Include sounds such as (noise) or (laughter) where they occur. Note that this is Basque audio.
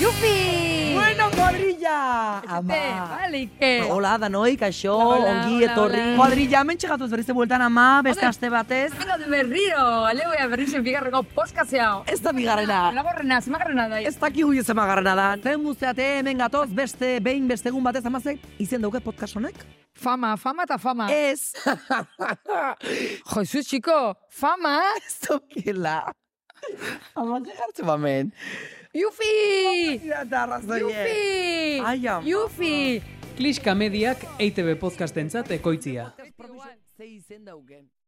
Yupi! Bueno, gorrilla! Etxete, Ama. Bale, Iker. Hola, danoi, kaixo, Hola, ongi hola, etorri. hola. Kuadrilla hemen txekatuz berriz bueltan ama, beste Hombre. aste batez. Hala de berriro, alegoia berrizen bigarreko postkazea. Ez da Ah. bigarrena. Laborrena, zimagarrena da. Ez dakigu izan magarrena da. Zen guztiate hemen gatoz, beste, behin, beste egun batez amazek, izen dauke podcast honek? Fama, fama eta fama. Ez, Josu, txiko, (laughs) fama. ez daukela. Amazek hartu bamen. Yufi! Ira eta arrazoie. Yufi! Ai, ama. Yufi! Kliska Mediak EITB podcastentzat ekoitzia. Ze izen dauken.